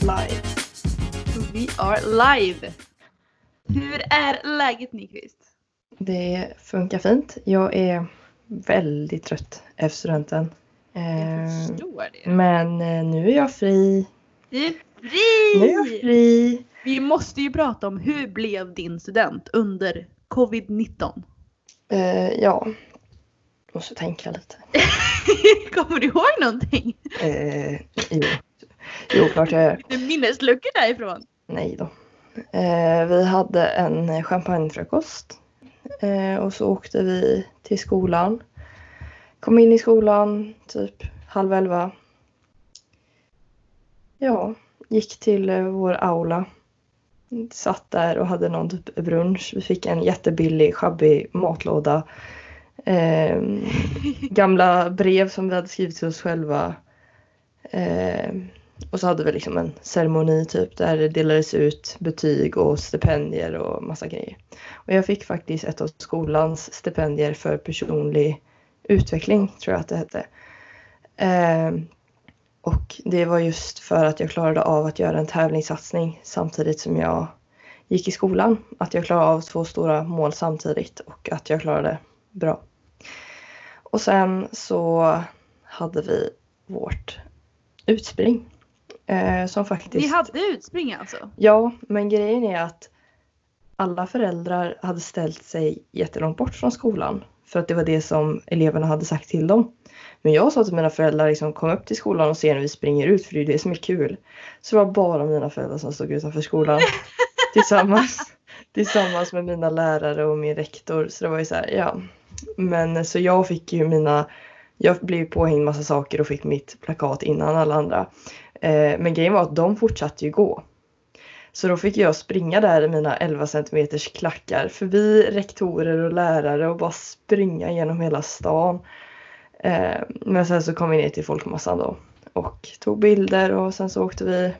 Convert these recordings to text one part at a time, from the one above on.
Live. We are live! Hur är läget Nyqvist? Det funkar fint. Jag är väldigt trött efter studenten. Jag Eh, förstår det. men eh, nu är jag fri. Vi är Nu är jag fri! fri. Vi måste ju prata om hur blev din student under covid-19? Eh, ja. Måste tänka lite. Kommer du ihåg någonting? Eh, jo. jo, klart jag gör. Du minnesluckor därifrån? Nej då. Eh, vi hade en champagnefrukost. Eh, och så åkte vi till skolan. Kom in i skolan typ halv elva. Ja, gick till eh, vår aula. Satt där och hade någon typ brunch. Vi fick en jättebillig, sjabbig matlåda. Eh, gamla brev som vi hade skrivit till oss själva. Eh, och så hade vi liksom en ceremoni typ där det delades ut betyg och stipendier och massa grejer. Och jag fick faktiskt ett av skolans stipendier för personlig utveckling tror jag att det hette. Ehm, och det var just för att jag klarade av att göra en tävlingssatsning samtidigt som jag gick i skolan. Att jag klarade av två stora mål samtidigt och att jag klarade bra. Och sen så hade vi vårt utspring. Eh, som faktiskt... Ni hade utspring alltså? Ja, men grejen är att alla föräldrar hade ställt sig jättelångt bort från skolan. För att det var det som eleverna hade sagt till dem. Men jag sa till mina föräldrar, liksom, kom upp till skolan och se när vi springer ut för det är det som är kul. Så det var bara mina föräldrar som stod utanför skolan. tillsammans, tillsammans med mina lärare och min rektor. Så det var ju så här, ja. Men så jag fick ju mina, jag blev påhängd massa saker och fick mitt plakat innan alla andra. Eh, men grejen var att de fortsatte ju gå. Så då fick jag springa där i mina 11 cm klackar förbi rektorer och lärare och bara springa genom hela stan. Eh, men sen så kom vi ner till folkmassan då och tog bilder och sen så åkte vi,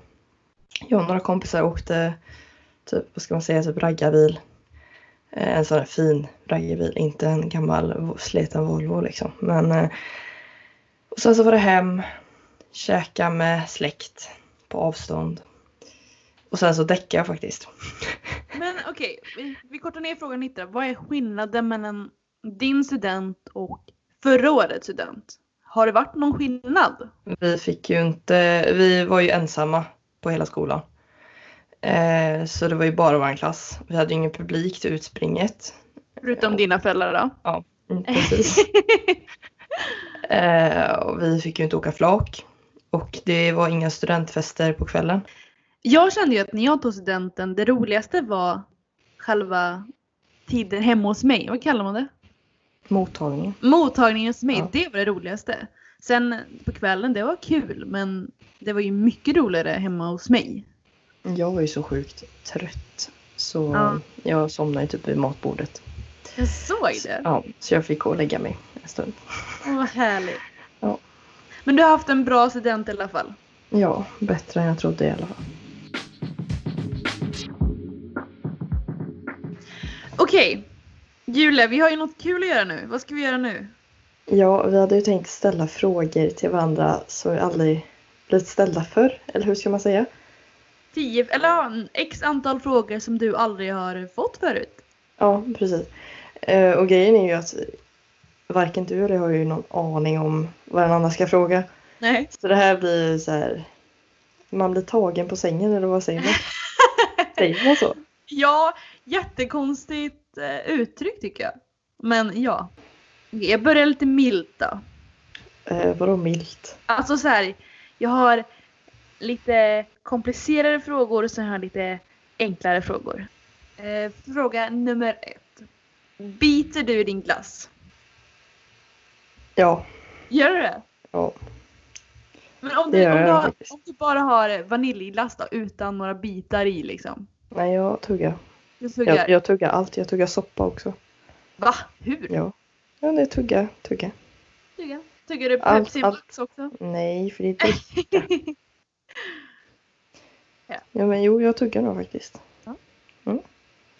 jag och några kompisar åkte typ, vad ska man säga, typ raggarbil. Eh, en sån här fin raggarbil, inte en gammal vo- sliten Volvo liksom. Men, eh, och sen så var det hem, käka med släkt på avstånd. Och sen så däckade jag faktiskt. Men okej, vi, vi kortar ner frågan lite. Vad är skillnaden mellan din student och förra årets student? Har det varit någon skillnad? Vi fick ju inte, vi var ju ensamma på hela skolan. Eh, så det var ju bara vår klass. Vi hade ju ingen publik till utspringet. Förutom dina föräldrar då? Mm, Precis. eh, och vi fick ju inte åka flak. Och det var inga studentfester på kvällen. Jag kände ju att när jag tog studenten, det roligaste var själva tiden hemma hos mig. Vad kallar man det? Mottagningen. Mottagningen hos mig, Ja. det var det roligaste. Sen på kvällen, det var kul men det var ju mycket roligare hemma hos mig. Jag var ju så sjukt trött. Så Ja. jag somnade ju typ vid matbordet. Jag såg Så, det. ja, så jag fick gå och lägga mig en stund. Åh, vad härligt. Ja. Men du har haft en bra student i alla fall. Ja, bättre än jag trodde i alla fall. Okej. Julia, vi har ju något kul att göra nu. Vad ska vi göra nu? Ja, vi hade ju tänkt ställa frågor till varandra som vi aldrig blivit ställda för, eller hur ska man säga? Tio, eller ja, en x antal frågor som du aldrig har fått förut. Ja, precis. Eh, Och grejen är ju att varken du eller jag har ju någon aning om vad den andra ska fråga. Nej. Så det här blir ju så här, man blir tagen på sängen eller vad säger man? säger man så? Ja, jättekonstigt eh, uttryck tycker jag. Men ja. Jag börjar lite milt då. Eh, vadå milt? Alltså så här, jag har lite komplicerade frågor och sen har jag lite enklare frågor. Eh, Eh, fråga nummer ett. Biter du i din glass? Ja, Gör du det? ja. Men om Det du, gör om du, jag har, faktiskt. om du bara har vaniljglass då, utan några bitar i liksom. Nej, jag tuggar. Du suger. Jag, jag tuggar allt. Jag tuggar soppa också. Va? Hur? Ja. Ja, det är tugga, tugga. Tugga. Tuggar du Allt- Pepsi allt- Max också? Nej, för det är dricka. Ja. ja, men jo, jag tuggar nog faktiskt. Ja. Mm. Och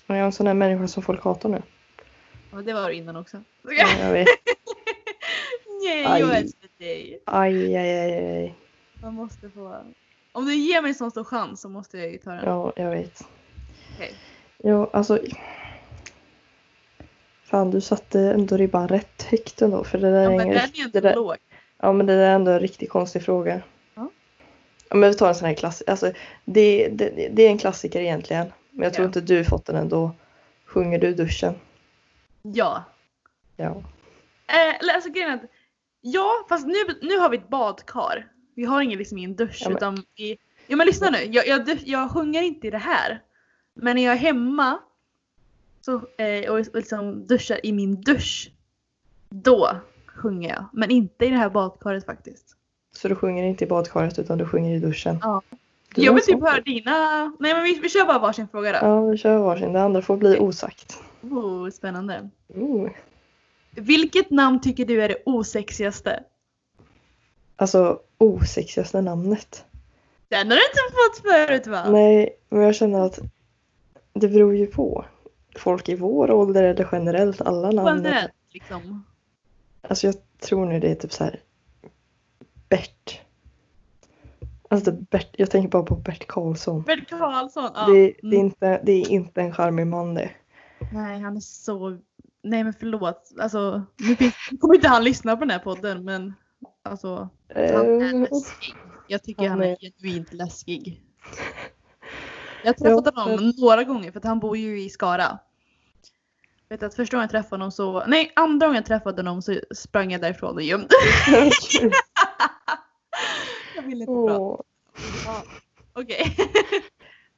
jag är en sån där människa som folk hatar nu. Ja, det var du innan också. Ja, jag vet. Nej, Aj. jag älskar dig. Aj, aj, aj, aj, aj. Man måste få... Om du ger mig en sån stor chans så måste jag ju ta den. Ja, jag vet. Okej. Ja, alltså. Fan, du satte ändå ribban rätt högt ändå. För det där Ja, är men ingen den är rikt- ju det inte där, låg. Ja, men det där är ändå en riktigt konstig fråga. Ja. Ja, men vi tar en sån här klassiker. Alltså, det, det, det är en klassiker egentligen. Men jag tror Ja. inte du fått den ändå. Sjunger du i duschen? Ja. Ja. Eh, eller alltså grejen är att... Ja, fast nu, nu har vi ett badkar. Vi har ingen, liksom, ingen dusch Ja, men- utan vi... Ja men lyssna nu. Jag, jag, dusch- jag sjunger inte i det här. Men när jag är hemma så, eh, och, och liksom duschar i min dusch. Då sjunger jag. Men inte i det här badkaret faktiskt. Så du sjunger inte i badkaret utan du sjunger i duschen? Ja. Du jag är vill sån. typ höra dina... Nej men vi, vi kör bara varsin fråga då. Ja, vi kör varsin. Det andra får bli osagt. Oh, spännande. Mm. Vilket namn tycker du är det osexigaste? Alltså, osexigaste namnet. Den har du inte fått förut va? Nej, men jag känner att det beror ju på. Folk i vår ålder eller generellt, alla namn. är- Generellt liksom. Alltså jag tror nu det är typ så här. Bert. Alltså Bert, jag tänker bara på Bert Karlsson. Bert Karlsson. Ja. Det, det, är Mm. inte, det är inte en charmig man det. Nej han är så... Nej men förlåt. Alltså, nu finns... nu kommer inte han lyssna på den här podden men alltså. Han är Eh, läskig. Jag tycker Ja, han är nej. genuint läskig. Jag har träffat Ja, honom några gånger för att han bor ju i Skara. Vet du, att första gången jag träffade honom så, nej andra gången jag träffade honom så sprang jag därifrån och gömde Jag ville inte prata. Åh. Okej.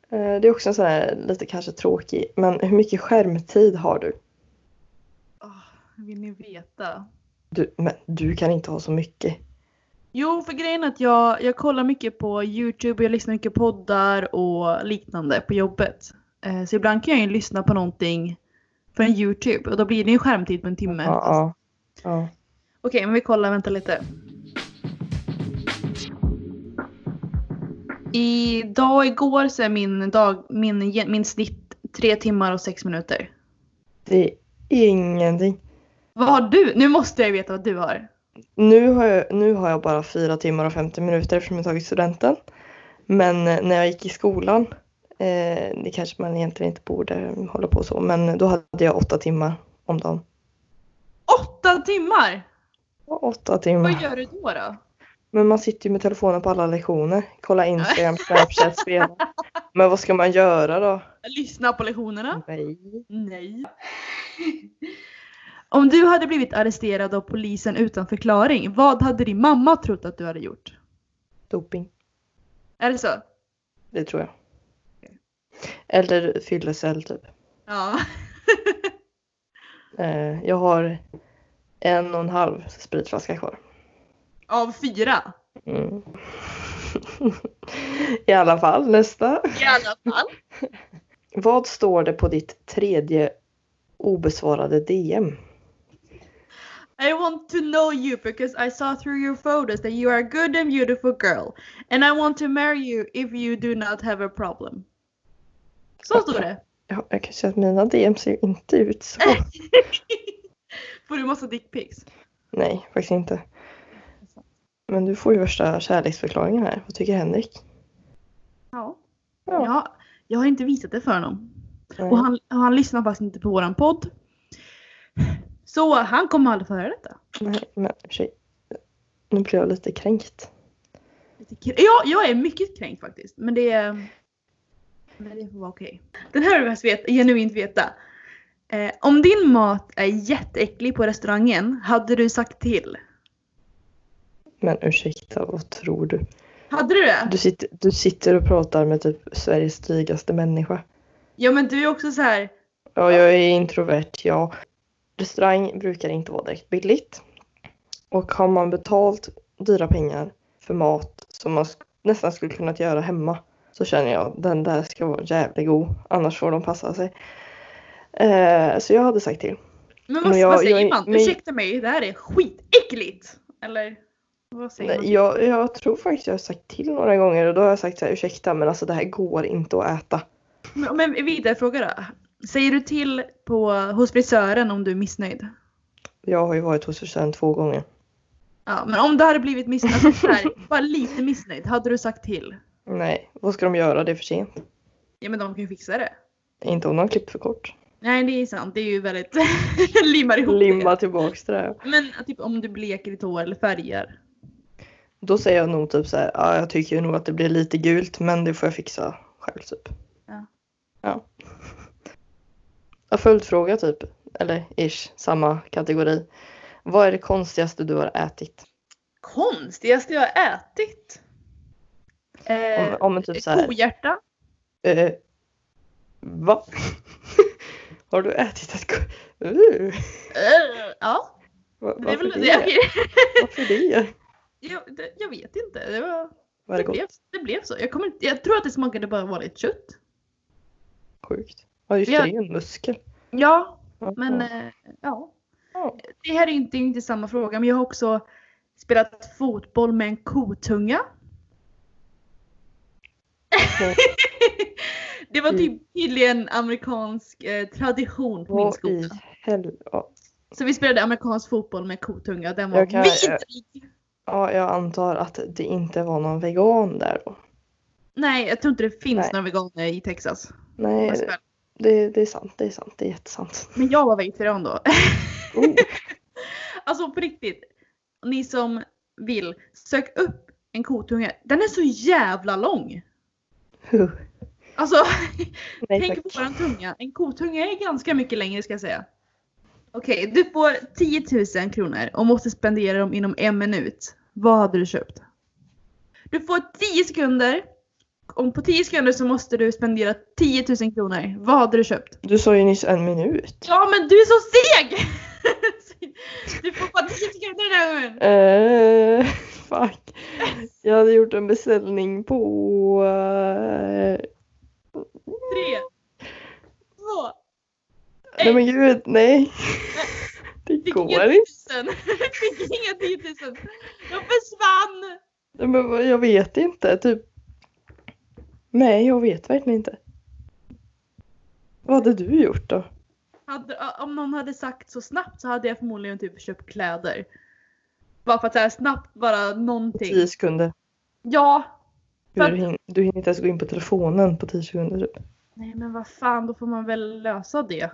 Eh, Det är också en sån här lite kanske tråkig, men hur mycket skärmtid har du? Vill ni veta? du men du kan inte ha så mycket. Jo, för grejen är att jag, jag kollar mycket på Youtube och jag lyssnar mycket på poddar och liknande på jobbet. Eh, Så ibland kan jag ju lyssna på någonting från Youtube och då blir det ju skärmtid på en timme. Ja, ja, ja. Okej, men vi kollar. Vänta lite. Idag och igår så är min, dag, min, ge- min snitt tre timmar och sex minuter. Det är ingenting. Vad har du? Nu måste jag veta vad du har. Nu har, jag, nu har jag bara fyra timmar och 50 minuter eftersom jag tagit studenten. Men eh, när jag gick i skolan, eh, det kanske man egentligen inte borde hålla på så, men då hade jag åtta timmar om dagen. Åtta timmar! Ja, Åtta Vad timmar. gör du då? då? Men man sitter ju med telefonen på alla lektioner. Kolla Instagram, Snapchat, spela. Men vad ska man göra då? Lyssna på lektionerna? Nej. Nej. Om du hade blivit arresterad av polisen utan förklaring, vad hade din mamma trott att du hade gjort? Doping. Är det så? Det tror jag. Eller fyllecell typ. Ja. Eh, jag har en och en halv spritflaska kvar. Av fyra? Mm. I alla fall, nästa. I alla fall. Vad står det på ditt tredje obesvarade DM? I want to know you because I saw through your photos that you are a good and beautiful girl. And I want to marry you if you do not have a problem. Så står det. Ja, jag kan säga att mina DM ser ju inte ut så. Äh! Får du massa dickpics? Nej, faktiskt inte. Men du får ju värsta kärleksförklaringen här. Vad tycker Henrik? Ja. Ja. ja. Jag har inte visat det för honom. Nej. Och han, och han lyssnar faktiskt inte på våran podd. Så han kommer aldrig få höra detta. Nej, men i och för sig. Nu blir jag lite kränkt. Lite kr- Ja, jag är mycket kränkt faktiskt. Men det, är- men det får vara okej. Den här vill jag veta, genuint veta. Eh, om din mat är jätteäcklig på restaurangen, hade du sagt till? Men ursäkta, vad tror du? Hade du det? Du sitter, du sitter och pratar med typ Sveriges drygaste människa. Ja men du är också så här. Ja, jag är introvert, ja. Restaurang brukar inte vara direkt billigt. Och har man betalt dyra pengar för mat som man sk- nästan skulle kunnat göra hemma så känner jag den där ska vara jävligt god, annars får de passa sig. Eh, så jag hade sagt till. Men Men vad, jag- vad säger jag är- man? men- Ursäkta mig, det här är skitäckligt! Eller vad säger Nej, man? Jag, jag tror faktiskt jag har sagt till några gånger och då har jag sagt så här, ursäkta men alltså det här går inte att äta. Men, men vidare fråga då. Säger du till på, hos frisören om du är missnöjd? Jag har ju varit hos frisören två gånger. Ja, men om du hade blivit missnöjd, alltså så här, bara lite missnöjd, hade du sagt till? Nej, vad ska de göra? Det är för sent. Ja men de kan ju fixa det. Inte om de klippt för kort. Nej det är sant, det är ju väldigt limmar ihop Limma tillbaks det där. det. Men typ om du bleker ditt hår eller färgar. Då säger jag nog typ så här, ja jag tycker nog att det blir lite gult men det får jag fixa själv typ. Ja. Ja. Ja, Följdfråga typ, eller ish, samma kategori. Vad är det konstigaste du har ätit? Konstigaste jag har ätit? Om, Eh, om en typ så här, kohjärta? Eh, va? Har du ätit ett ko- uh, Eh, ja, va, det är varför, väl det det. okej. varför det? Jag, det- jag vet inte. Det, var, Var det det, gott? blev, det blev så. Jag, kommer, inte- jag tror att det smakade bara vanligt kött. Sjukt. Ja just det, Ja. det är ju en muskel. Ja, Ja. men eh, ja. Ja. Det här är ju inte, inte samma fråga men jag har också spelat fotboll med en kotunga. Okej. Mm. det var typ tydligen amerikansk eh, tradition på min Vad i skola. hel... ja. Så vi spelade amerikansk fotboll med kotunga. Den var Jag kan- vidrig! ja, jag antar att det inte var någon vegan där då. Nej, jag tror inte det finns Nej. några veganer i Texas. Nej, det, det är sant, det är sant, det är jättesant. Men jag var vegetarian då. Oh, Alltså på riktigt. Ni som vill, sök upp en kotunga. Den är så jävla lång. huh. Alltså, Nej tänk på tack. våran tunga. En kotunga är ganska mycket längre ska jag säga. Okej, du får 10 000 kronor och måste spendera dem inom en minut. Vad hade du köpt? Du får 10 sekunder. Om på 10 sekunder så måste du spendera 10 000 kronor. Vad hade du köpt? Du sa ju nyss en minut. Ja men du är så seg! Du får bara 10 sekunder den här gången. Eh, fuck. Jag hade gjort en beställning på... eh, Tre. Två. Nej men gud, nej. Det Fick går inga inte. tusen. Fick inga 10 000. Jag försvann. Nej, Men vad- jag vet inte, typ. Nej, jag vet verkligen inte. Vad hade du gjort då? Hade, om någon hade sagt så snabbt så hade jag förmodligen typ köpt kläder. Bara för att såhär snabbt bara någonting. Tio sekunder. Ja. Hur hin- du hinner inte ens gå in på telefonen på tio sekunder typ. Nej men vad fan då får man väl lösa det.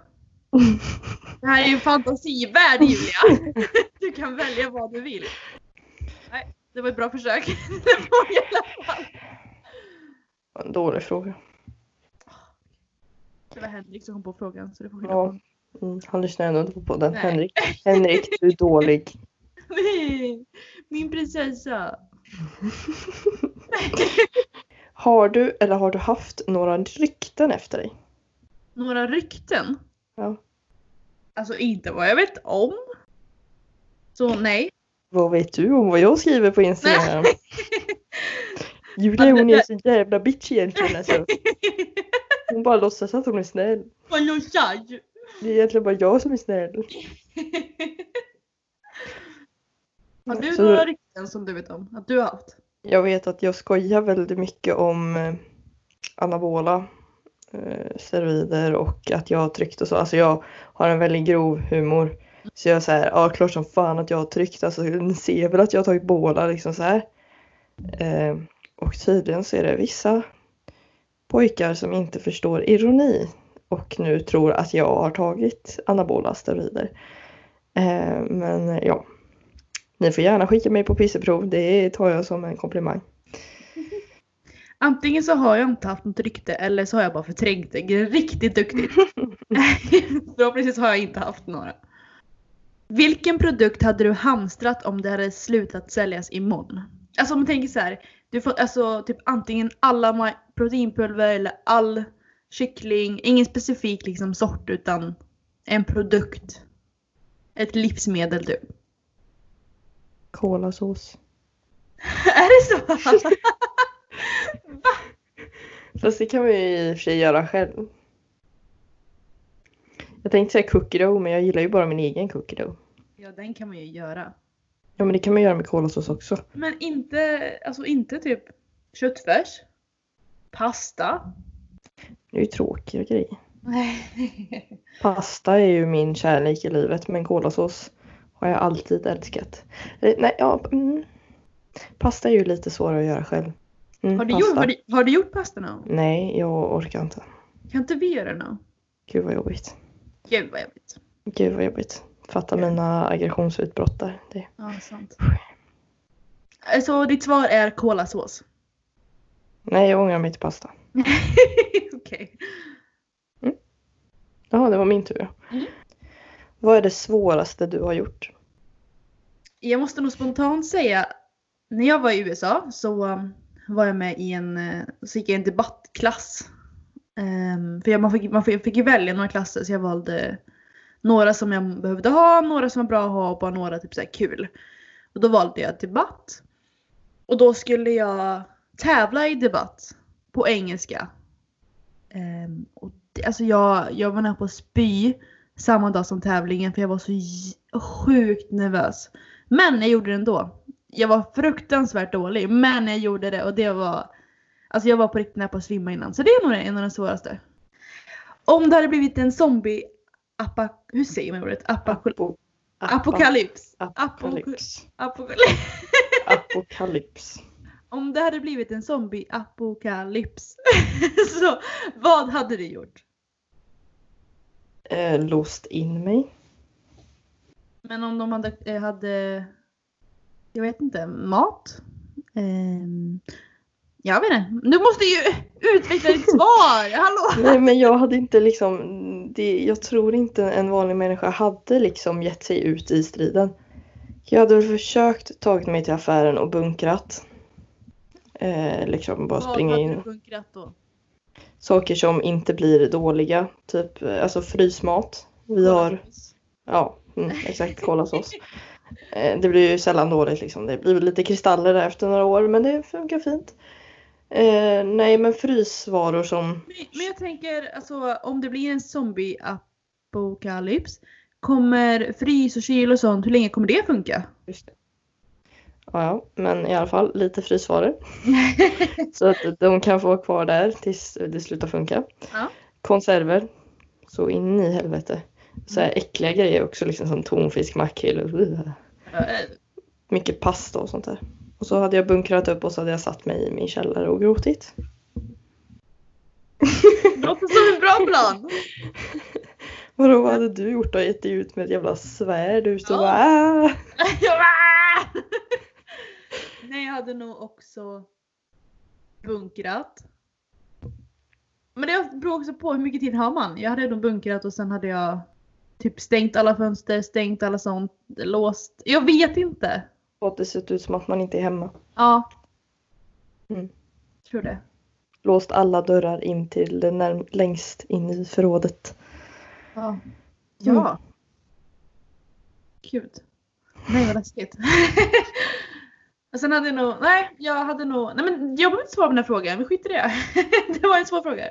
Det här är ju en fantasivärld Julia. Du kan välja vad du vill. Nej, det var ett bra försök. Det var i alla fall. En dålig fråga. Det var Henrik som kom på frågan så det får skylla på Ja. Mm, han lyssnar ändå inte på podden. Nej. Henrik. Henrik, du är dålig. Nej, Min prinsessa. Har du eller har du haft några rykten efter dig? Några rykten? Ja. Alltså inte vad jag vet om. Så nej. Vad vet du om vad jag skriver på Instagram? Julia Men det- hon är så jävla bitch egentligen alltså. Hon bara låtsas att hon är snäll. Vad låtsas? Det är egentligen bara jag som är snäll. Har du Så- några rykten som du vet om? Att du har haft? Jag vet att jag skojar väldigt mycket om eh, anabola eh, steroider och att jag har tryckt och så. Alltså jag har en väldigt grov humor. Så jag är så här, ja klart som fan att jag har tryckt. Alltså ni ser väl att jag har tagit båla liksom så här. Eh, och tydligen så är det vissa pojkar som inte förstår ironi och nu tror att jag har tagit anabola steroider. Eh, men eh, ja. Ni får gärna skicka mig på pisseprov, det tar jag som en komplimang. Antingen så har jag inte haft något rykte eller så har jag bara förträngt det. Det är Riktigt duktigt. Förhoppningsvis har jag inte haft några. Vilken produkt hade du hamstrat om det hade slutat säljas imorgon? Alltså om man tänker så här. Du får alltså typ antingen alla ma- proteinpulver eller all kyckling, ingen specifik liksom sort utan en produkt. Ett livsmedel typ. Kolasås. Är det så? Fast det kan man ju i och för sig göra själv. Jag tänkte säga cookie dough, men jag gillar ju bara min egen cookie dough. ja, den kan man ju göra. Ja, men det kan man göra med kolasås också. Men inte, alltså inte typ köttfärs. Pasta. Det är ju tråkiga grejer. Nej. Pasta är ju min kärlek i livet, men kolasås har jag alltid älskat. Eller, nej, ja, mm. Pasta är ju lite svårare att göra själv. Mm, Har du, pasta. gjort, har, du, har du gjort pasta någon gång? Nej, jag orkar inte. Kan inte vi göra någon? Gud vad jobbigt. Gud vad jobbigt. Gud vad jobbigt. Fatta mina aggressionsutbrott där. Det. Ja, sant. Så Alltså, ditt svar är kolasås? Nej, jag ångrar mig till pasta. Okej. Jaha, det var min tur. Mm. Vad är det svåraste du har gjort? Jag måste nog spontant säga, när jag var i USA så um, var jag med i en, eh, så gick jag i en debattklass. Ehm, för jag, man, fick, man fick, fick ju välja några klasser så jag valde några som jag behövde ha, några som var bra att ha och bara några typ så här kul. Och då valde jag debatt. Och då skulle jag tävla i debatt på engelska. Ehm, och det, alltså jag, jag var nära på att spy samma dag som tävlingen för jag var så j- sjukt nervös. Men jag gjorde det ändå. Jag var fruktansvärt dålig, men jag gjorde det och det var... Alltså jag var på riktigt nära på att svimma innan, så det är nog en av de svåraste. Om det hade blivit en zombie... Apa, hur säger man ordet? Apa, Apo- apokalyps. Apokalyps. Apokalyps. Apokalyps. Apokalyps. Om det hade blivit en zombie-apokalyps, så vad hade du gjort? Eh, låst in mig. Men om de hade, eh, hade jag vet inte, mat? Ehm, jag vet inte. Du måste ju utveckla ditt svar! Hallå! Nej men jag hade inte liksom, det, jag tror inte en vanlig människa hade liksom gett sig ut i striden. Jag hade väl försökt tagit mig till affären och bunkrat. Eh, liksom bara springa hade du in. bunkrat då? Saker som inte blir dåliga, typ eh, alltså frysmat. Vi har, ja mm, exakt kolasås. Eh, det blir ju sällan dåligt liksom. Det blir väl lite kristaller där efter några år men det funkar fint. Eh, nej men frysvaror som, Men, men jag tänker alltså om det blir en zombie-apokalyps, kommer frys och kyl och sånt, hur länge kommer det funka? Just det. Ja, ja, men i alla fall lite frysvaror. så att de kan få vara kvar där tills det slutar funka. Ja. Konserver. Så in i helvete. Så här äckliga grejer också, liksom som tonfisk, makrill. uh, Eh, Mycket pasta och sånt där. Och så hade jag bunkrat upp och så hade jag satt mig i min källare och gråtit. Låter som en bra plan! Vadå, vad hade du gjort då? Gett dig ut med ett jävla svärd ut Ja. och bara "Ah!" Nej, jag hade nog också bunkrat. Men det beror också på hur mycket tid har man. Jag hade nog bunkrat och sen hade jag typ stängt alla fönster, stängt alla sånt, låst. Jag vet inte. Och det sett ut som att man inte är hemma. Ja. Mm. Tror det. Låst alla dörrar in till det närm- längst in i förrådet. Ja. Ja. Gud. Nej vad läskigt. Och sen hade jag nog, nej jag hade nog, nej men jag behöver inte svara på den här frågan, vi skiter i det. det var en svår fråga.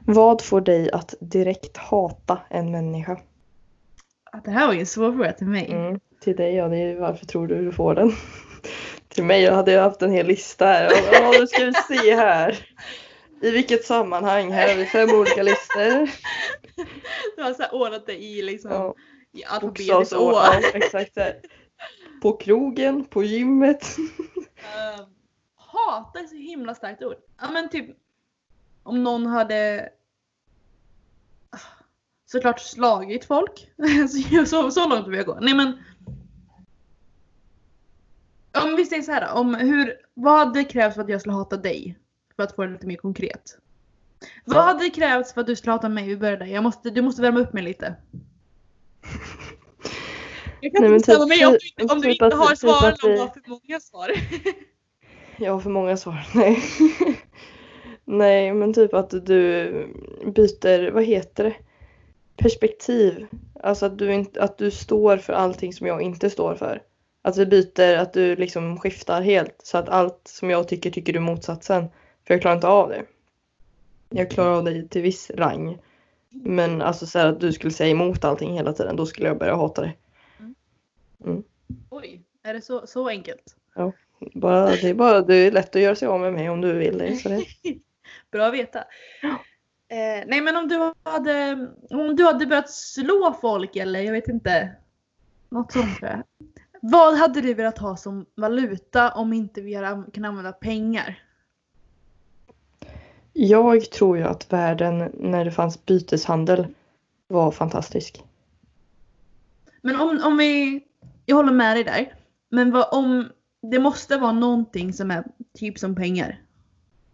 Vad får dig att direkt hata en människa? Att Ah, det här var ju en svår fråga till mig. Mm. Till dig, ja, det är ju varför tror du du får den? Till mig, jag hade ju haft en hel lista här. Ja, nu ska vi se här. I vilket sammanhang? Här har vi fem olika listor. Du har så här ordnat det i liksom Ja, i alfabetiskt bokstavsord. år. Ja, exakt. Så här. På krogen, på gymmet. Eh, hata är så himla starkt ord. Ja men typ om någon hade Ah, såklart slagit folk. Så- så, så långt vill jag gå. Nej men. Om vi säger så här då, om hur, vad hade krävts för att jag skulle hata dig? För att få det lite mer konkret. Vad hade krävts för att du skulle hata mig? Vi börjar där. Jag måste, du måste värma upp mig lite. Jag kan Nej, men inte bestämma typ- mig om du inte, om du typ inte att- har typ svar att eller om du vi- har för många svar. Jag har för många svar. Nej. Nej, men typ att du byter, vad heter det? Perspektiv. Alltså att du, inte, att du står för allting som jag inte står för. Att vi byter, att du liksom skiftar helt. Så att allt som jag tycker, tycker du motsatsen. För jag klarar inte av det. Jag klarar av dig till viss rang. Men alltså så här att du skulle säga emot allting hela tiden, då skulle jag börja hata dig. Oj, är det så, så enkelt? Bara, det, är bara, det är lätt att göra sig av med mig om du vill det. Så det Bra att veta. Eh, nej men om du hade, om du hade börjat slå folk eller jag vet inte. Något sånt tror jag. Vad hade du velat ha som valuta om inte vi hade an- kunnat använda pengar? Jag tror ju att världen när det fanns byteshandel var fantastisk. Men om, om vi, jag håller med dig där. Men vad om, det måste vara någonting som är typ som pengar.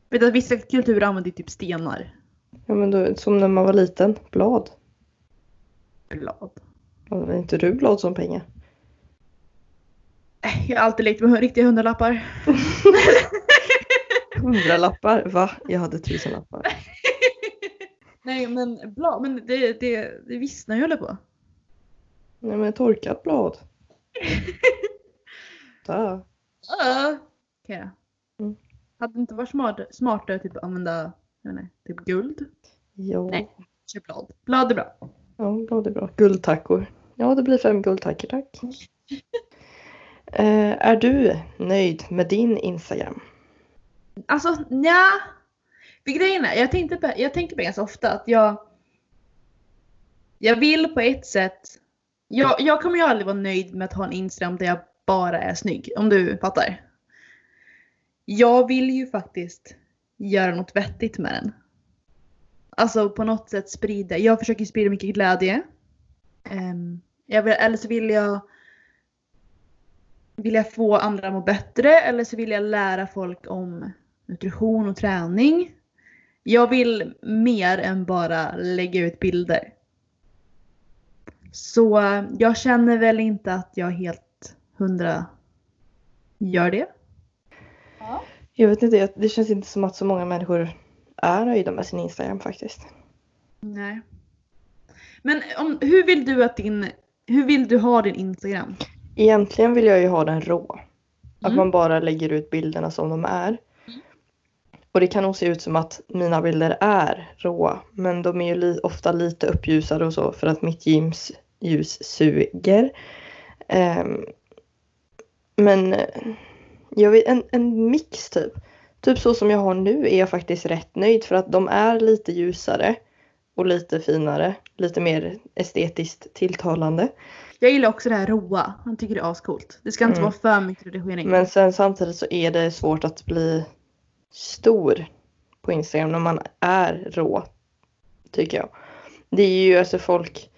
Vet du att vissa kulturer använder typ stenar. Ja, men då, som när man var liten, blad. Blad. Är inte du blad som pengar? Äh, Jag har alltid lekt med riktiga hundralappar. Hundralappar? Va? Jag hade tusenlappar. Nej men blad, men det, det, det vissnar ju håller på. Nej men torkat blad. Da. Ja. Okej då. Mm. Hade det inte varit smart, smartare typ att använda jag vet inte, typ guld? Ja. Nej. Köp blad. Blad är bra. ja, blad är bra. Guldtackor. Ja, det blir fem guldtackor tack. Eh, är du nöjd med din Instagram? Alltså nja. För grejen är, jag, tänkte på, jag tänker på det ganska ofta att jag Jag vill på ett sätt jag, jag kommer ju aldrig vara nöjd med att ha en Instagram där jag bara är snygg. Om du fattar. Jag vill ju faktiskt göra något vettigt med den. Alltså på något sätt sprida. Jag försöker sprida mycket glädje. Ehm, jag vill, eller så vill jag vill jag få andra att må bättre eller så vill jag lära folk om nutrition och träning. Jag vill mer än bara lägga ut bilder. Så eh, jag känner väl inte att jag helt hundra gör det. Jag vet inte, jag- det känns inte som att så många människor är nöjda med sin Instagram faktiskt. Nej. Men om, hur vill du att din, hur vill du ha din Instagram? Egentligen vill jag ju ha den rå. Att Mm. man bara lägger ut bilderna som de är. Och det kan nog se ut som att mina bilder är råa. Men de är ju li- ofta lite uppljusade och så för att mitt gyms ljus suger. Ehm, men eh, jag vet, en, en mix typ. Typ så som jag har nu är jag faktiskt rätt nöjd för att de är lite ljusare. Och lite finare. Lite mer estetiskt tilltalande. Jag gillar också det här roa. Jag tycker det är ascoolt. Det ska inte Mm. vara för mycket redigering. Men sen samtidigt så är det svårt att bli stor på Instagram när man är rå. Tycker jag. Det är ju alltså folk,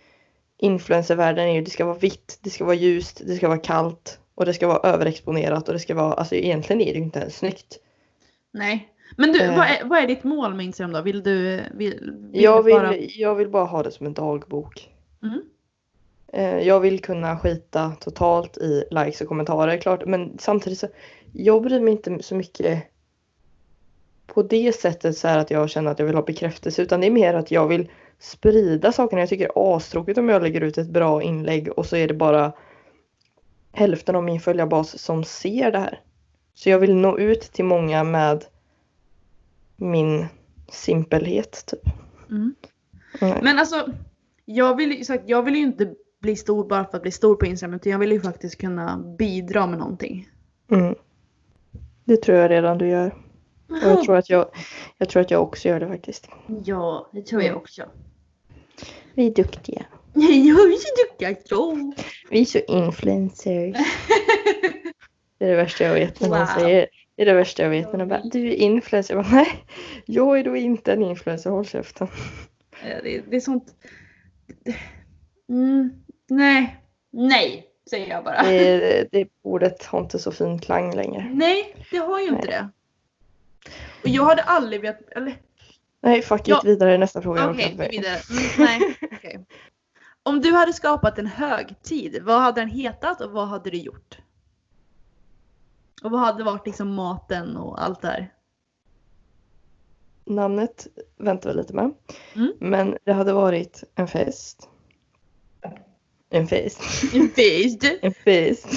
influencervärlden är ju det ska vara vitt, det ska vara ljust, det ska vara kallt och det ska vara överexponerat och det ska vara, alltså egentligen är det ju inte ens snyggt. Nej. Men du, Eh. vad, är, vad är ditt mål med Instagram då? Vill du... Vill, vill Jag du bara- vill, jag vill bara ha det som en dagbok. Mm. Eh, Jag vill kunna skita totalt i likes och kommentarer klart men samtidigt så jag bryr mig inte så mycket på det sättet så här att jag känner att jag vill ha bekräftelse utan det är mer att jag vill sprida sakerna. Jag tycker det är astråkigt om jag lägger ut ett bra inlägg och så är det bara hälften av min följarbas som ser det här. Så jag vill nå ut till många med min simpelhet typ. Mm. Mm. Men alltså, jag vill, ju- sagt, jag vill ju inte bli stor bara för att bli stor på Instagram utan jag vill ju faktiskt kunna bidra med någonting. Mm. Det tror jag redan du gör. Och jag tror att jag, jag tror att jag också gör det faktiskt. Ja, det tror jag också. Vi är duktiga. Jag vill ju ducka, ja. Vi är så influencers. Det är det värsta jag vet när någon Wow. säger det är det värsta jag vet när de bara du är influencer. Jag bara, nej, jag är då inte en influencer, håll käften. Eh, Det, det är sånt... Mm, nej. Nej, säger jag bara. Det, det ordet har inte så fin klang längre. Nej, det har ju inte det. Och jag hade aldrig velat... Eller Nej, fuck it, Ja. vidare nästa fråga. Jag orkar Okej, inte okay, med. vidare. Mm, nej. okej. Om du hade skapat en högtid, vad hade den hetat och vad hade du gjort? Och vad hade varit liksom maten och allt det här? namnet väntar vi lite med. Mm. Men det hade varit en fest. En fest. Based. en fest.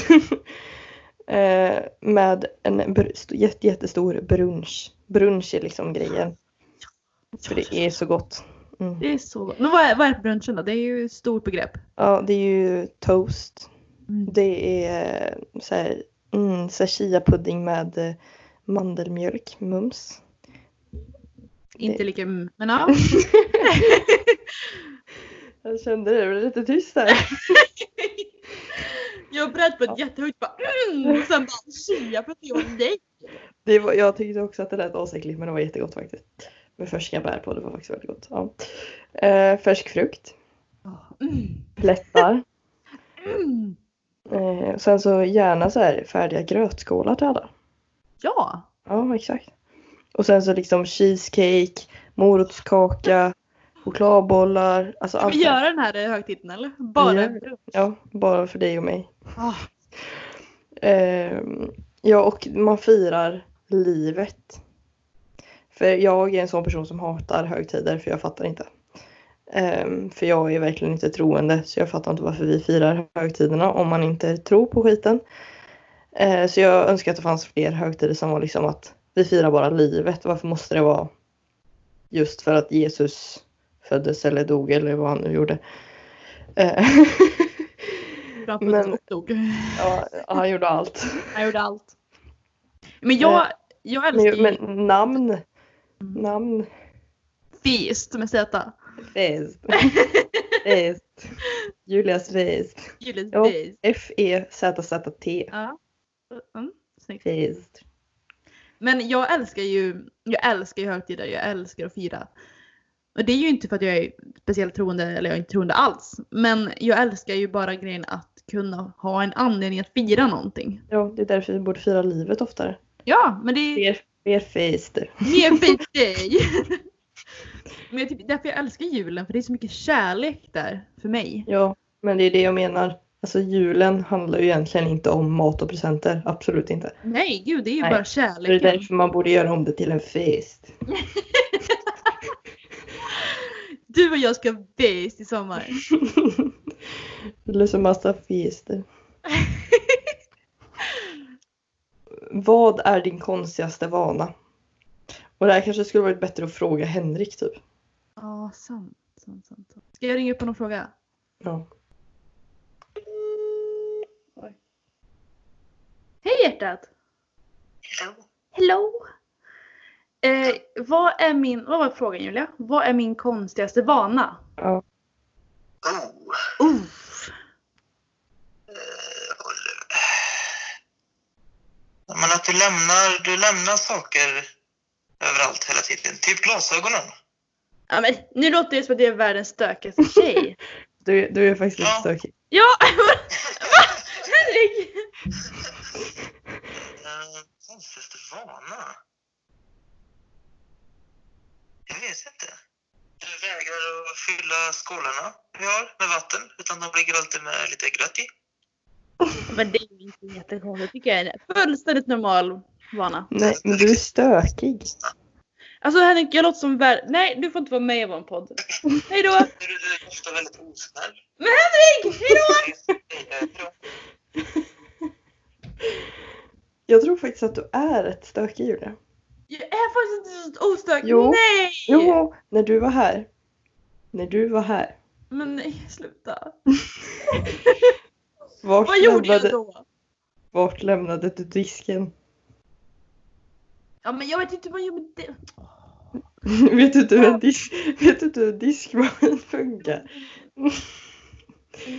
eh, med en br- st- jätte- jättestor brunch. Brunch är liksom grejen. För det är så gott. Mm. Det är så gott. Men vad är, vad är brunchen då? Det är ju ett stort begrepp. Ja, det är ju toast. Mm. Det är eh, så här, mm, så här chia-pudding med eh, mandelmjölk, mums. Inte lika mm, men ja. Jag kände det, det blev lite tyst här. Jag bröt på ett jättehögt bara mm, och sen bara chia för att jag nej. Det var, jag tyckte också att det lät asäckligt men det var jättegott faktiskt. Med färska bär på, det var faktiskt väldigt gott. Ja. Eh, färsk frukt, Mm, plättar. mm. Eh, sen så gärna så här färdiga grötskålar till alla. Ja. Ja, exakt. Och sen så liksom cheesecake, morotskaka, chokladbollar. Alltså Ska allt. vi det här. göra den här eh, högtiden eller? Bara Vi gör en brunch. Ja, bara för dig och mig. Ah, Ehm, ja, och man firar livet. För jag är en sån person som hatar högtider för jag fattar inte. Ehm, för jag är verkligen inte troende så jag fattar inte varför vi firar högtiderna om man inte tror på skiten. Ehm, så jag önskar att det fanns fler högtider som var liksom att vi firar bara livet. Varför måste det vara just för att Jesus föddes eller dog eller vad han nu gjorde. Ehm, framför Men- att jag dog. ja, han gjorde allt. Jag gjorde allt. Eh, Men jag, jag älskar ju Men, men namn. Namn. feast med Z. Fest. Fest. Julias fest. E Julius Ja. feast. F-E-Z-Z-T. Ja. Mm, snyggt. Fest. Men jag älskar ju, jag älskar ju högtider, jag älskar att fira. Och det är ju inte för att jag är speciellt troende eller jag är inte troende alls. Men jag älskar ju bara grejen att kunna ha en anledning att fira någonting. Ja, det är därför vi borde fira livet oftare. Ja, men det är Fler, fler fester. mer fint dig. Men jag tycker, därför jag älskar julen, för det är så mycket kärlek där för mig. Ja, men det är det jag menar. Alltså julen handlar ju egentligen inte om mat och presenter. Absolut inte. Nej, gud, det är ju Nej, bara Det är kärleken. därför man borde göra om det till en fest. Du och jag ska bäst i sommar. Eller så massa fester. Vad är din konstigaste vana? Och det här kanske skulle varit bättre att fråga Henrik typ. Ja, sant, sant, sant. sant. Ska jag ringa upp honom och fråga? Ja. Hej hjärtat! Hello! Eh, vad är min, vad var frågan Julia? Vad är min konstigaste vana? ja. Oh, Uff. men att du lämnar, du lämnar saker överallt hela tiden. Typ glasögonen. Ja, men, nu låter det som att jag är världens stökigaste tjej. Du, du är faktiskt lite Ja. stökig. ja! Henrik! Eh, Konstigaste vana? Jag vet inte. Du vägrar att fylla skålarna vi har med vatten, utan de ligger alltid med lite gröt i. Men det är ju inte jättekonstigt tycker jag. är en fullständigt normal vana. Nej, men du är stökig. Alltså Henrik, jag låter som värld... Nej, du får inte vara med i vår podd. Hej då! Du, du är ofta väldigt osnäll. Henrik! Hej då! Jag tror faktiskt att du är rätt stökig Julia. Jag är faktiskt inte så ostökig. Jo. Nej! Jo, när du var här. När du var här. Men nej, sluta. Vart, Vad gjorde lämnade, jag då? vart lämnade du disken? Ja men jag vet inte vad jag gjorde. Det. vet, du inte hur en disk, vet du inte hur en diskmaskin funkar?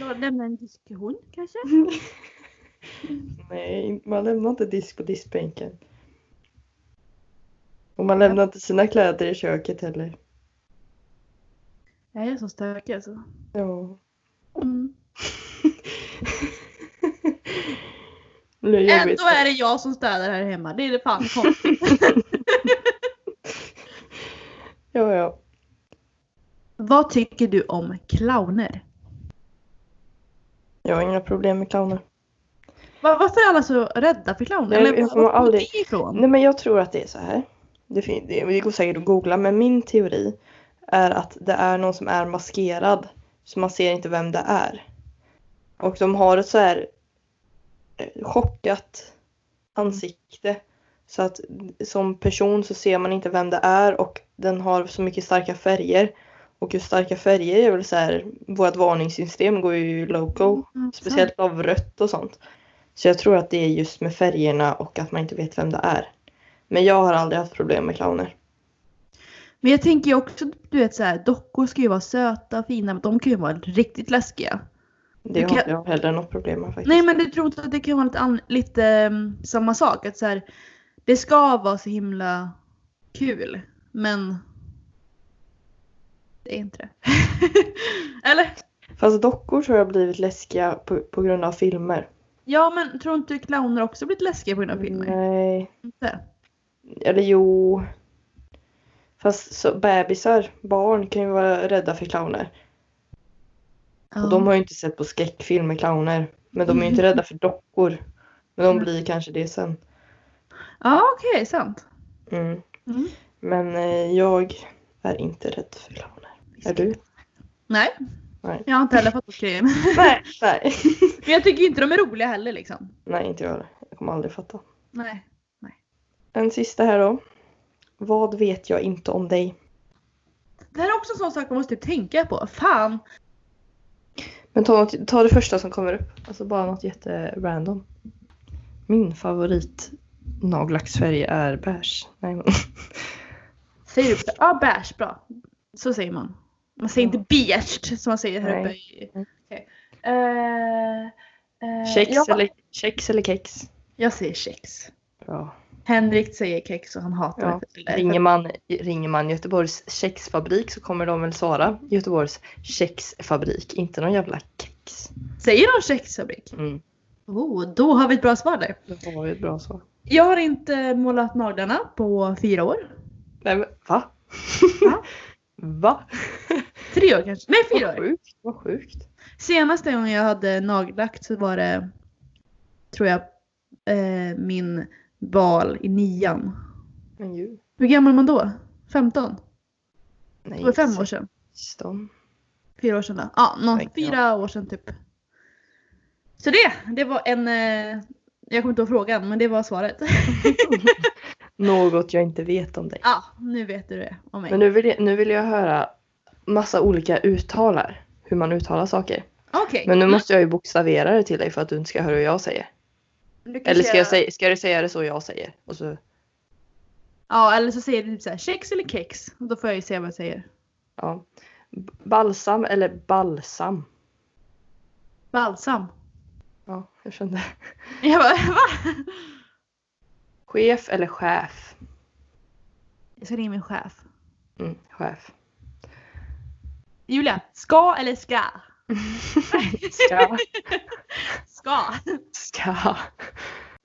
Jag lämnade en diskussion kanske? Nej, man lämnar inte disk på diskbänken. Och man lämnar inte sina kläder i köket heller. Jag är så stökig alltså. Ja. Mm. Det är jobbigt. Ändå är det jag som städar här hemma. Det är det fan konstigt. Ja, ja. vad tycker du om clowner? Jag har inga problem med clowner. Va- varför är alla så rädda för clowner? Nej, jag var kommer kommer aldrig- det ifrån? Nej, men jag tror att det är så här. det, fin- det, det går säkert att googla, men min teori är att det är någon som är maskerad så man ser inte vem det är. Och de har ett så här eh, chockat ansikte så att som person så ser man inte vem det är och den har så mycket starka färger. Och just starka färger är väl så här, vårt varningssystem går ju Mm, loco, speciellt av rött och sånt. Så jag tror att det är just med färgerna och att man inte vet vem det är. Men jag har aldrig haft problem med clowner. Men jag tänker ju också, du vet så här, dockor ska ju vara söta och fina, men de kan ju vara riktigt läskiga. Det Du har kan- inte jag heller något problem med faktiskt. Nej men du tror inte att det kan vara lite, an- lite mm, samma sak? Att så här, det ska vara så himla kul, men det är inte det. Eller? Fast dockor tror jag har blivit läskiga på, på grund av filmer. Ja men tror inte clowner också blivit läskiga på grund av filmer? Nej. Inte? Eller jo. Fast så, bebisar, barn kan ju vara rädda för clowner. Ja. Och de har ju inte sett på skräckfilm med clowner. Men de är ju inte rädda för dockor. Men de blir kanske det sen. Ja okej, sant. Mm. Mm. Men eh, jag är inte rädd för clowner. Är du? Nej. Nej. Jag har inte heller fattat grejen. Nej. Nej, Men jag tycker inte de är roliga heller liksom. Nej inte jag heller. Jag kommer aldrig fatta. Nej. En sista här då. Vad vet jag inte om dig? Det här är också en sån sak man måste typ tänka på. Fan! Men ta, något, ta det första som kommer upp. Alltså bara något jätterandom. Min favorit nagellacksfärg är beige. Nej, men. Säger du Ja, ah, beige, bra. Så säger man. Man säger inte beige som man säger här Nej. uppe i... Okej. Eh, eh, Kex, jag, eller, kex eller kex? jag säger kex. Bra. Henrik säger kex och han hatar Ja, mig för det. Ringer man, ringer man Göteborgs kexfabrik så kommer de väl svara Göteborgs kexfabrik, inte någon jävla kex. Säger de kexfabrik? Mm. Oh, då har vi ett bra svar där. Det var ju ett bra svar. Jag har inte målat naglarna på fyra år. Nej men va? Va? va? Tre år kanske. Nej, fyra Vad år. sjukt. Vad sjukt. Senaste gången jag hade nagellack så var det, tror jag, eh, min bal i nian. Men ju. Hur gammal är man då? 15? Nej, Det var fem år sedan. 16. Fyra år sedan då. Ja, någon, Verkligen. fyra år sedan typ. Så det, det var en... Eh, jag kommer inte ihåg frågan, men det var svaret. Något jag inte vet om dig. ja, nu vet du det om mig. Men nu vill, jag, nu vill jag höra massa olika uttalar. Hur man uttalar saker. Okej. Men nu måste jag ju bokstavera det till dig för att du inte ska höra hur jag säger. Du kan Eller ska, jag säga, ska du säga det så jag säger? Och så, Ja, eller så säger du typ såhär kex eller kex. Och då får jag ju se vad jag säger. ja. B- Balsam eller balsam? Balsam. Ja, jag kände. Jag bara va? Chef eller chef? Jag ska ringa min chef. Mm, chef. Julia, ska eller ska? Ska. Ska. Ska.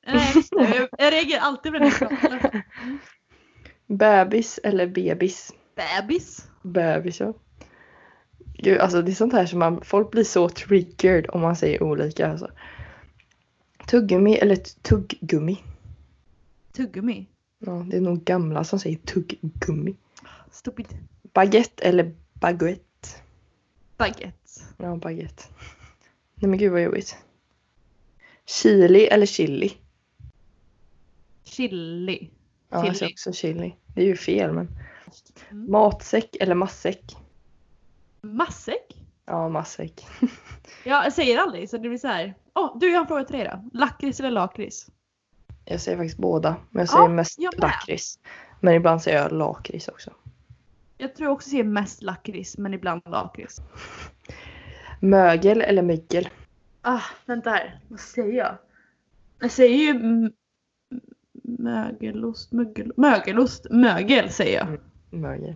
Nej, just det. jag, jag reagerar alltid på den här frågan. Bebis eller bebis? Bebis. Bebis ja. Gud, alltså det är sånt här som man, folk blir så triggered om man säger olika alltså. Tuggummi eller t- tuggummi? Tuggummi. Ja, det är nog gamla som säger tuggummi. Stupid. Baguette eller baguette? Baguette. Ja, baguette. Nej men gud vad jobbigt. Chili eller chili? Chili. Ja, jag säger Chili. också chili. Det är ju fel men. Mm. Matsäck eller massäck? Matsäck? Ja, massäck. Ja, jag säger aldrig så det blir så här. Åh, du jag har en fråga till dig då. Lakrits eller lakrits? Jag säger faktiskt båda. Men jag Ja, säger mest jag med. lakrits. Men ibland säger jag lakrits också. Jag tror jag också säger mest lakrits men ibland lakrits. Mögel eller mygel? Ah, vänta här. Vad säger jag? Jag säger ju m- m- mögelost, mögel, mögelost, mögel säger jag. Mm. Mögel.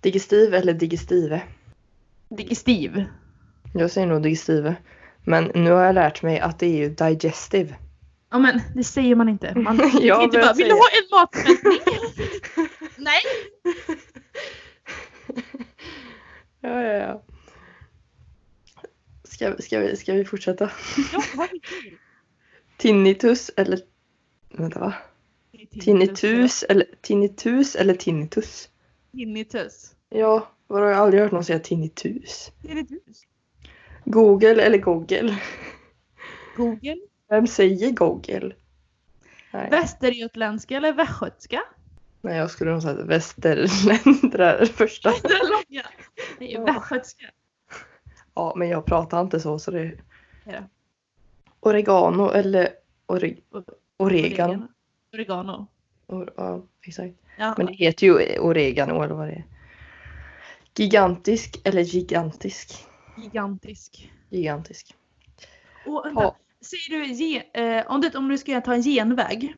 Digestiv eller digestive? Digestiv. Jag säger nog digestive. Men nu har jag lärt mig att det är ju digestive. Ja men det säger man inte. Man Ja, jag inte men bara, jag vill du säger- ha en matsmältning? Nej! Ja, ja, ja. Ska, ska, vi, ska vi fortsätta? Ja, vad är det? Tinnitus eller... Vänta va? Tinnitus eller Tinnitus eller tinnitus? Tinnitus. Ja, vadå, jag har aldrig hört någon säga tinnitus. Tinnitus. Google eller Google? Google. Vem säger Google? Nej, Västergötländska eller västgötska? Nej jag skulle nog säga västerländare första. Det är långa. Det är Ja. västgötska. Ja, men jag pratar inte så så det... Ja. Oregano eller ore... oregano? Oregano. Or... Ja, exakt. Ja. Men det heter ju oregano eller vad det är. Gigantisk eller gigantisk? Gigantisk. Gigantisk. Och vänta. Ja. Säger du ge, eh, om, du, om du ska ta en genväg.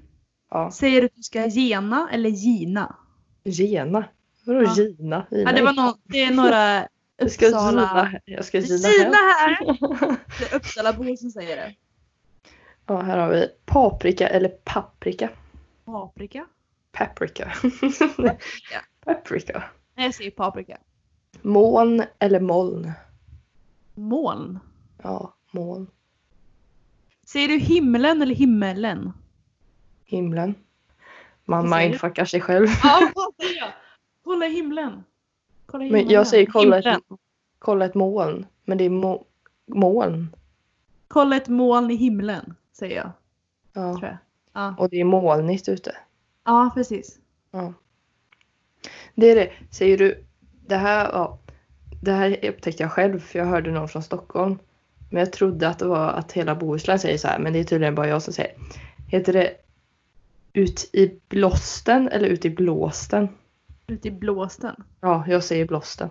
ja. Säger du att du ska gena eller gina? Gena? Vadå Ja. Gina? Gina? Ja, det, var någon, det är några jag ska Uppsala... Gina. Jag ska Gina Gina hem. här! Det är Uppsalabor som säger det. Ja, här har vi paprika eller paprika. Paprika? Paprika. paprika. Nej, jag säger paprika. Moln eller moln? Moln. Ja, moln. Säger du himlen eller himmelen? Himlen. Man Vad säger du? mindfuckar sig själv. Ja, vad säger jag? Kolla himlen. Kolla Men himlen. jag säger kolla Himlen. ett, kolla ett moln. Men det är mo- moln. Kolla ett moln i himlen, säger jag. Ja. Tror jag. Ja. Och det är molnigt ute. ja, precis. Det är det. Säger du det här? Ja, det här upptäckte jag själv för jag hörde någon från Stockholm. Men jag trodde att det var att hela Bohuslän säger så här. Men det är tydligen bara jag som säger. Heter det ut i blåsten eller ut i blåsten? Ute i blåsten. Ja, jag säger blåsten.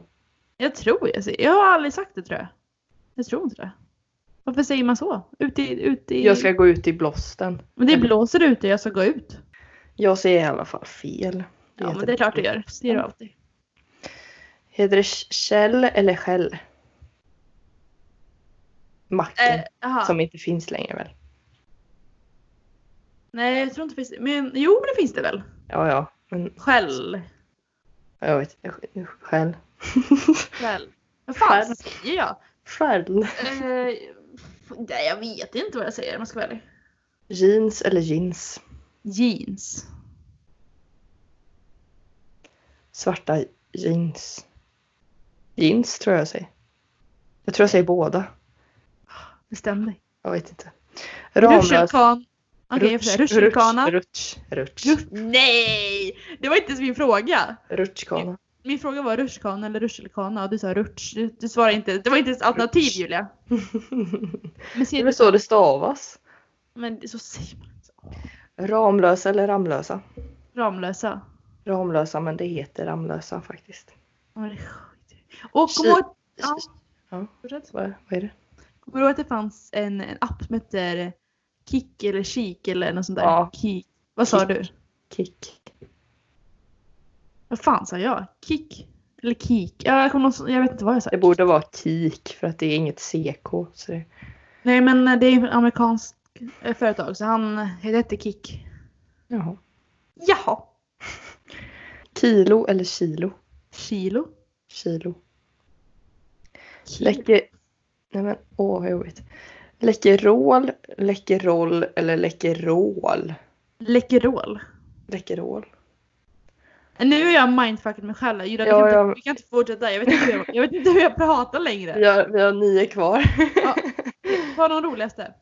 Jag tror jag säger. Jag har aldrig sagt det tror jag. Jag tror inte det. Varför säger man så? Ute i... Ute i... Jag ska gå ut i blåsten. Men det blåser ute, jag ska gå ut. Jag säger i alla fall fel. Ja, heter men det är klart du gör. Det gör du alltid. Heter det käll eller skäll? Macken. Eh, aha. Som inte finns längre väl? Nej, jag tror inte det finns. Men jo, men det finns det väl? Ja, ja. Men Skäll. jag vet. Skäll. Skäll. Vad fan Skäll. säger jag? Skäll. Eh, f- nej, jag vet inte vad jag säger om jag ska vara ärlig. Jeans eller jeans? Jeans. Svarta jeans. Jeans tror jag jag säger. Jag tror jag säger båda. Bestäm dig. Jag vet inte. Rutschkan. Okej, jag får säga rutsch, rutschkana. rutsch, rutsch, Rutsch- Nej! Det var inte ens min fråga. rutschkana. Min fråga var rutschkana eller rutschkana och du sa rutsch. Du, du svarade inte. Det var inte ens alternativ Rutsch. Julia. Men, Det är ser väl så det stavas. men det- så säger man inte. Ramlösa eller Ramlösa? Ramlösa. Ramlösa, men det heter Ramlösa faktiskt. Ja, men det är skit. Och kom Ki- ihåg... Ja. Ja. Fortsätt. Vad, vad är det? Kommer du ihåg att det fanns en, en app som hette Kik eller Kik eller något sånt där? Ja. Kik. Vad sa Kik. du? Kick. Vad fan sa jag? Kik? Eller Kik? Ja, jag, kommer någon, jag vet inte vad jag sa. Det borde vara kik för att det är inget CK. Så det... Nej men eh, det är ett amerikanskt eh, företag så han det hette Kik. Jaha. Jaha. Kilo eller kilo? Kilo. Kilo. Kilo. Läcker... Nej men åh vad jobbigt. Läckerol, läckeroll eller läckerol? Läkerol. Läckerol. Nu är jag mindfuckad mig själv. Julia, Ja, vi, kan ja. inte, vi kan inte fortsätta. Jag vet inte hur jag, jag, vet inte hur jag pratar längre. Vi har, vi har nio kvar. Ja. Ta de roligaste.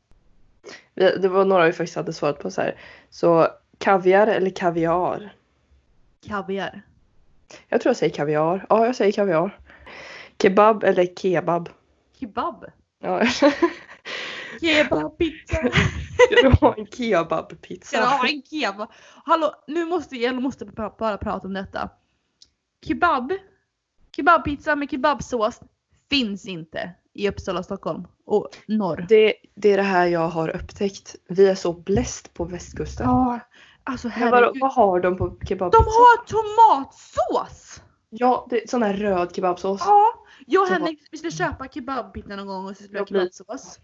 Vi- det var några vi faktiskt hade svarat på så här. Så kaviar eller kaviar? Kaviar. Jag tror jag säger kaviar. Ja, jag säger kaviar. Kebab eller kebab? Kebab. Ja. Kebab, pizza. Ska du ha en kebabpizza? Ska du ha en kebab? Hallå, nu måste jag måste bara, bara prata om detta. Kebab, kebabpizza med kebabsås finns inte i Uppsala, Stockholm och norr. Det, det är det här jag har upptäckt. Vi är så bläst på västkusten. Ja, alltså Men vadå, herregud. vad har de på De kebabpizza? har tomatsås! Ja, det är sån här röd kebabsås. Ja, jag och Tomat- Henrik vi skulle köpa kebabpizza någon gång och så skulle vi ha Jag blir- kebabsås.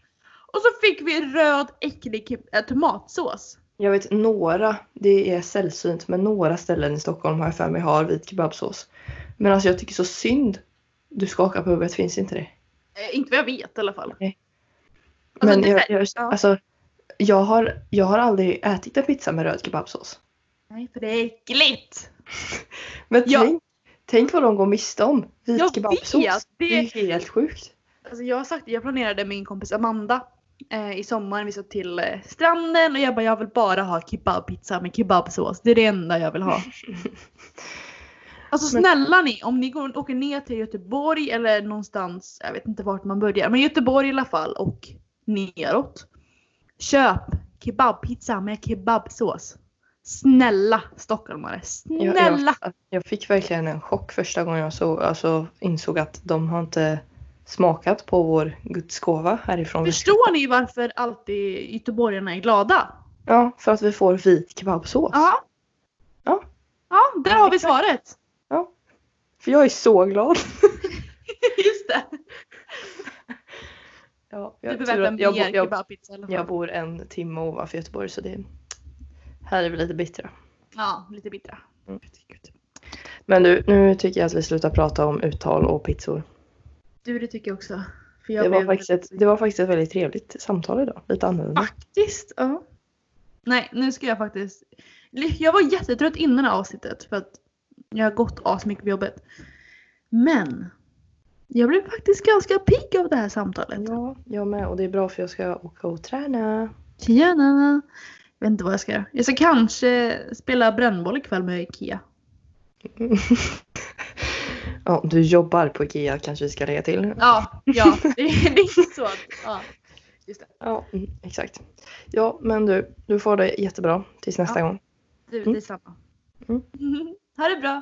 Och så fick vi röd äcklig ke- äh, tomatsås. Jag vet några, det är sällsynt, men några ställen i Stockholm har jag för mig har vit kebabsås. Men alltså jag tycker så synd. Du skakar på huvudet, finns inte det? Eh, inte vad jag vet i alla fall. Nej. Alltså, men det- jag, jag, ja. alltså, jag, har, jag har aldrig ätit en pizza med röd kebabsås. Nej, för det är äckligt. Men Ja. tänk, tänk vad de går miste om. Jag Vit kebabsås. vet, Det är helt sjukt. Alltså jag har sagt jag planerade med min kompis Amanda eh, i sommar. Vi ska till eh, stranden och jag bara jag vill bara ha kebabpizza med kebabsås. Det är det enda jag vill ha. Alltså Men- snälla ni, om ni går, åker ner till Göteborg eller någonstans, jag vet inte vart man börjar, men Göteborg i alla fall och neråt. Köp kebabpizza med kebabsås. Snälla stockholmare, Jag, snälla! jag, jag fick verkligen en chock första gången jag såg, alltså, insåg att de har inte smakat på vår gudsgåva härifrån. Förstår ni varför alltid göteborgarna är glada? Ja, för att vi får vit kebabsås. Ja. Ja. Ja, där har vi svaret. För jag är så glad. Just det. Ja, Du jag, behöver tur en att, jag, bier bo- jag, kebabpizza eller jag bor en timme ovanför Göteborg så det här är vi lite bittra. Ja, lite bittra. Mm. Men du, nu tycker jag att vi slutar prata om uttal och pizzor. Du, det tycker jag också. För jag Det var, blev- faktiskt ett, det var faktiskt ett väldigt trevligt samtal idag. Lite annorlunda. Faktiskt, ja. Nej, nu ska jag faktiskt... Jag var jättetrött innan det här avsnittet för att jag har gått asmycket på jobbet. Men jag blev faktiskt ganska pigg av det här samtalet. Ja, jag med. Och det är bra för jag ska åka och träna. Tjena! Jag vet inte vad jag ska göra. Jag ska kanske spela brännboll ikväll med Ikea. Ja, du jobbar på Ikea kanske vi ska lägga till. Ja, ja. Det, det är inte så att... Ja. Just det. Ja, mm, exakt. Ja, men du, du får det jättebra tills nästa Ja. gång. Du, Mm. detsamma. Mm. ha det bra!